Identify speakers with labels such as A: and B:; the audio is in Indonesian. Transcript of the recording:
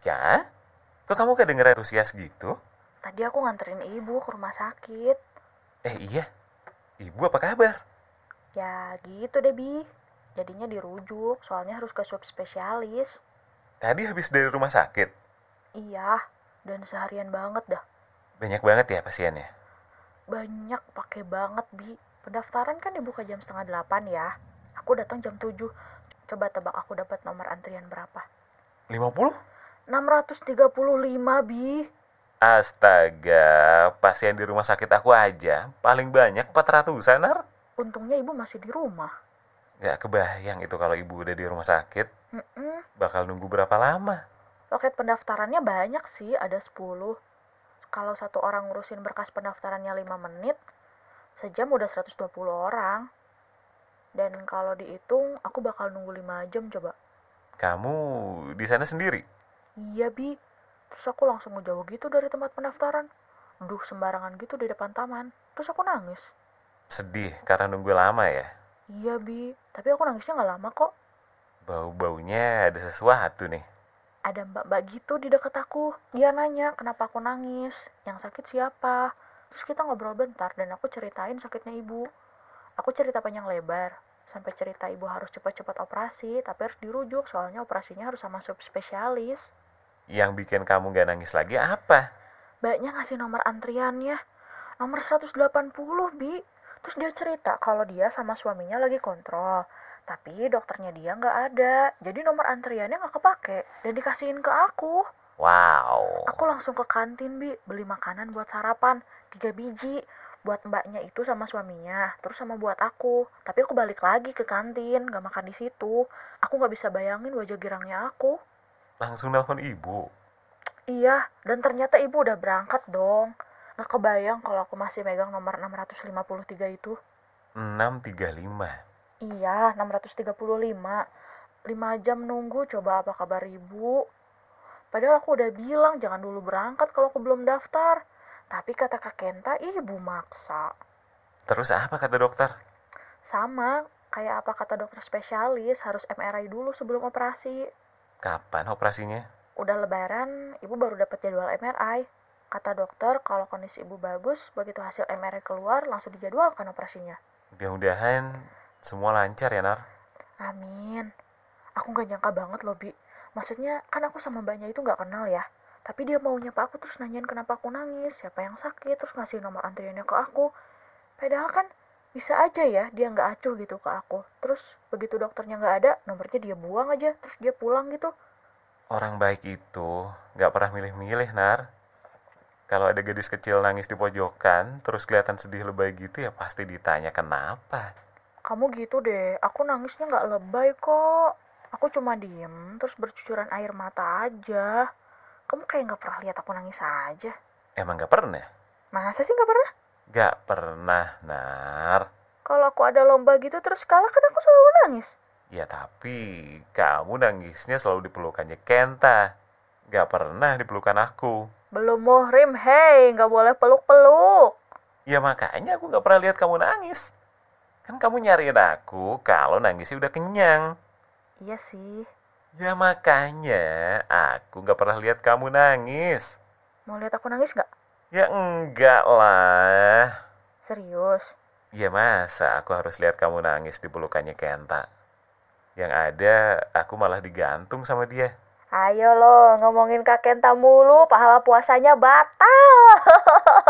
A: Ya? Kok kamu kedengeran antusias gitu?
B: Tadi aku nganterin ibu ke rumah sakit.
A: Eh iya, ibu apa kabar?
B: Ya gitu deh, Bi. Jadinya dirujuk, soalnya harus ke sub spesialis.
A: Tadi habis dari rumah sakit.
B: Iya, dan seharian banget dah.
A: Banyak banget ya pasiennya.
B: Banyak pakai banget, Bi. Pendaftaran kan dibuka jam setengah delapan ya. Aku datang jam 7. Coba tebak aku dapat nomor antrian berapa?
A: 50?
B: 635, Bi.
A: Astaga, pasien di rumah sakit aku aja paling banyak 400-an, Nar.
B: Untungnya ibu masih di rumah.
A: Gak kebayang itu kalau ibu udah di rumah sakit,
B: Mm-mm.
A: bakal nunggu berapa lama.
B: Loket pendaftarannya banyak sih, ada 10. Kalau satu orang ngurusin berkas pendaftarannya 5 menit, sejam udah 120 orang. Dan kalau dihitung, aku bakal nunggu 5 jam coba.
A: Kamu di sana sendiri?
B: Iya, Bi. Terus aku langsung ngejauh gitu dari tempat pendaftaran. Duduk sembarangan gitu di depan taman. Terus aku nangis.
A: Sedih karena nunggu lama ya.
B: Iya, Bi. Tapi aku nangisnya nggak lama kok.
A: Bau-baunya ada sesuatu nih.
B: Ada mbak-mbak gitu di dekat aku. Dia nanya kenapa aku nangis. Yang sakit siapa? Terus kita ngobrol bentar dan aku ceritain sakitnya ibu. Aku cerita panjang lebar. Sampai cerita ibu harus cepat-cepat operasi, tapi harus dirujuk soalnya operasinya harus sama subspesialis.
A: Yang bikin kamu gak nangis lagi apa?
B: Mbaknya ngasih nomor antriannya. Nomor 180, Bi. Terus dia cerita kalau dia sama suaminya lagi kontrol. Tapi dokternya dia nggak ada. Jadi nomor antriannya nggak kepake. Dan dikasihin ke aku.
A: Wow.
B: Aku langsung ke kantin, Bi. Beli makanan buat sarapan. Tiga biji. Buat mbaknya itu sama suaminya. Terus sama buat aku. Tapi aku balik lagi ke kantin. Nggak makan di situ. Aku nggak bisa bayangin wajah girangnya aku.
A: Langsung nelpon ibu.
B: Iya, dan ternyata ibu udah berangkat dong. Nggak kebayang kalau aku masih megang nomor 653 itu.
A: 635.
B: Iya, 635. 5 jam nunggu, coba apa kabar ibu? Padahal aku udah bilang jangan dulu berangkat kalau aku belum daftar. Tapi kata Kak Kenta, ibu maksa.
A: Terus apa kata dokter?
B: Sama, kayak apa kata dokter spesialis, harus MRI dulu sebelum operasi.
A: Kapan operasinya?
B: Udah lebaran, ibu baru dapat jadwal MRI. Kata dokter, kalau kondisi ibu bagus, begitu hasil MRI keluar, langsung dijadwalkan operasinya.
A: Mudah-mudahan semua lancar ya, Nar.
B: Amin. Aku gak nyangka banget loh, Bi. Maksudnya, kan aku sama mbaknya itu gak kenal ya. Tapi dia mau nyapa aku terus nanyain kenapa aku nangis, siapa yang sakit, terus ngasih nomor antriannya ke aku. Padahal kan bisa aja ya dia nggak acuh gitu ke aku. Terus begitu dokternya nggak ada, nomornya dia buang aja, terus dia pulang gitu.
A: Orang baik itu nggak pernah milih-milih, Nar. Kalau ada gadis kecil nangis di pojokan, terus kelihatan sedih lebay gitu ya pasti ditanya kenapa.
B: Kamu gitu deh, aku nangisnya nggak lebay kok. Aku cuma diem, terus bercucuran air mata aja. Kamu kayak nggak pernah lihat aku nangis aja.
A: Emang nggak pernah?
B: Masa sih nggak pernah?
A: Nggak pernah, Nar.
B: Kalau aku ada lomba gitu terus kalah kan aku selalu nangis.
A: Ya tapi kamu nangisnya selalu dipelukannya Kenta. Nggak pernah dipelukan aku.
B: Belum muhrim, hei, nggak boleh peluk-peluk.
A: Ya makanya aku nggak pernah lihat kamu nangis. Kan kamu nyariin aku kalau nangisnya udah kenyang.
B: Iya sih,
A: Ya makanya aku nggak pernah lihat kamu nangis.
B: mau lihat aku nangis nggak?
A: Ya enggak lah.
B: Serius?
A: Ya masa aku harus lihat kamu nangis di pelukannya Kenta. Yang ada aku malah digantung sama dia.
B: Ayo loh, ngomongin Kak Kenta mulu, pahala puasanya batal.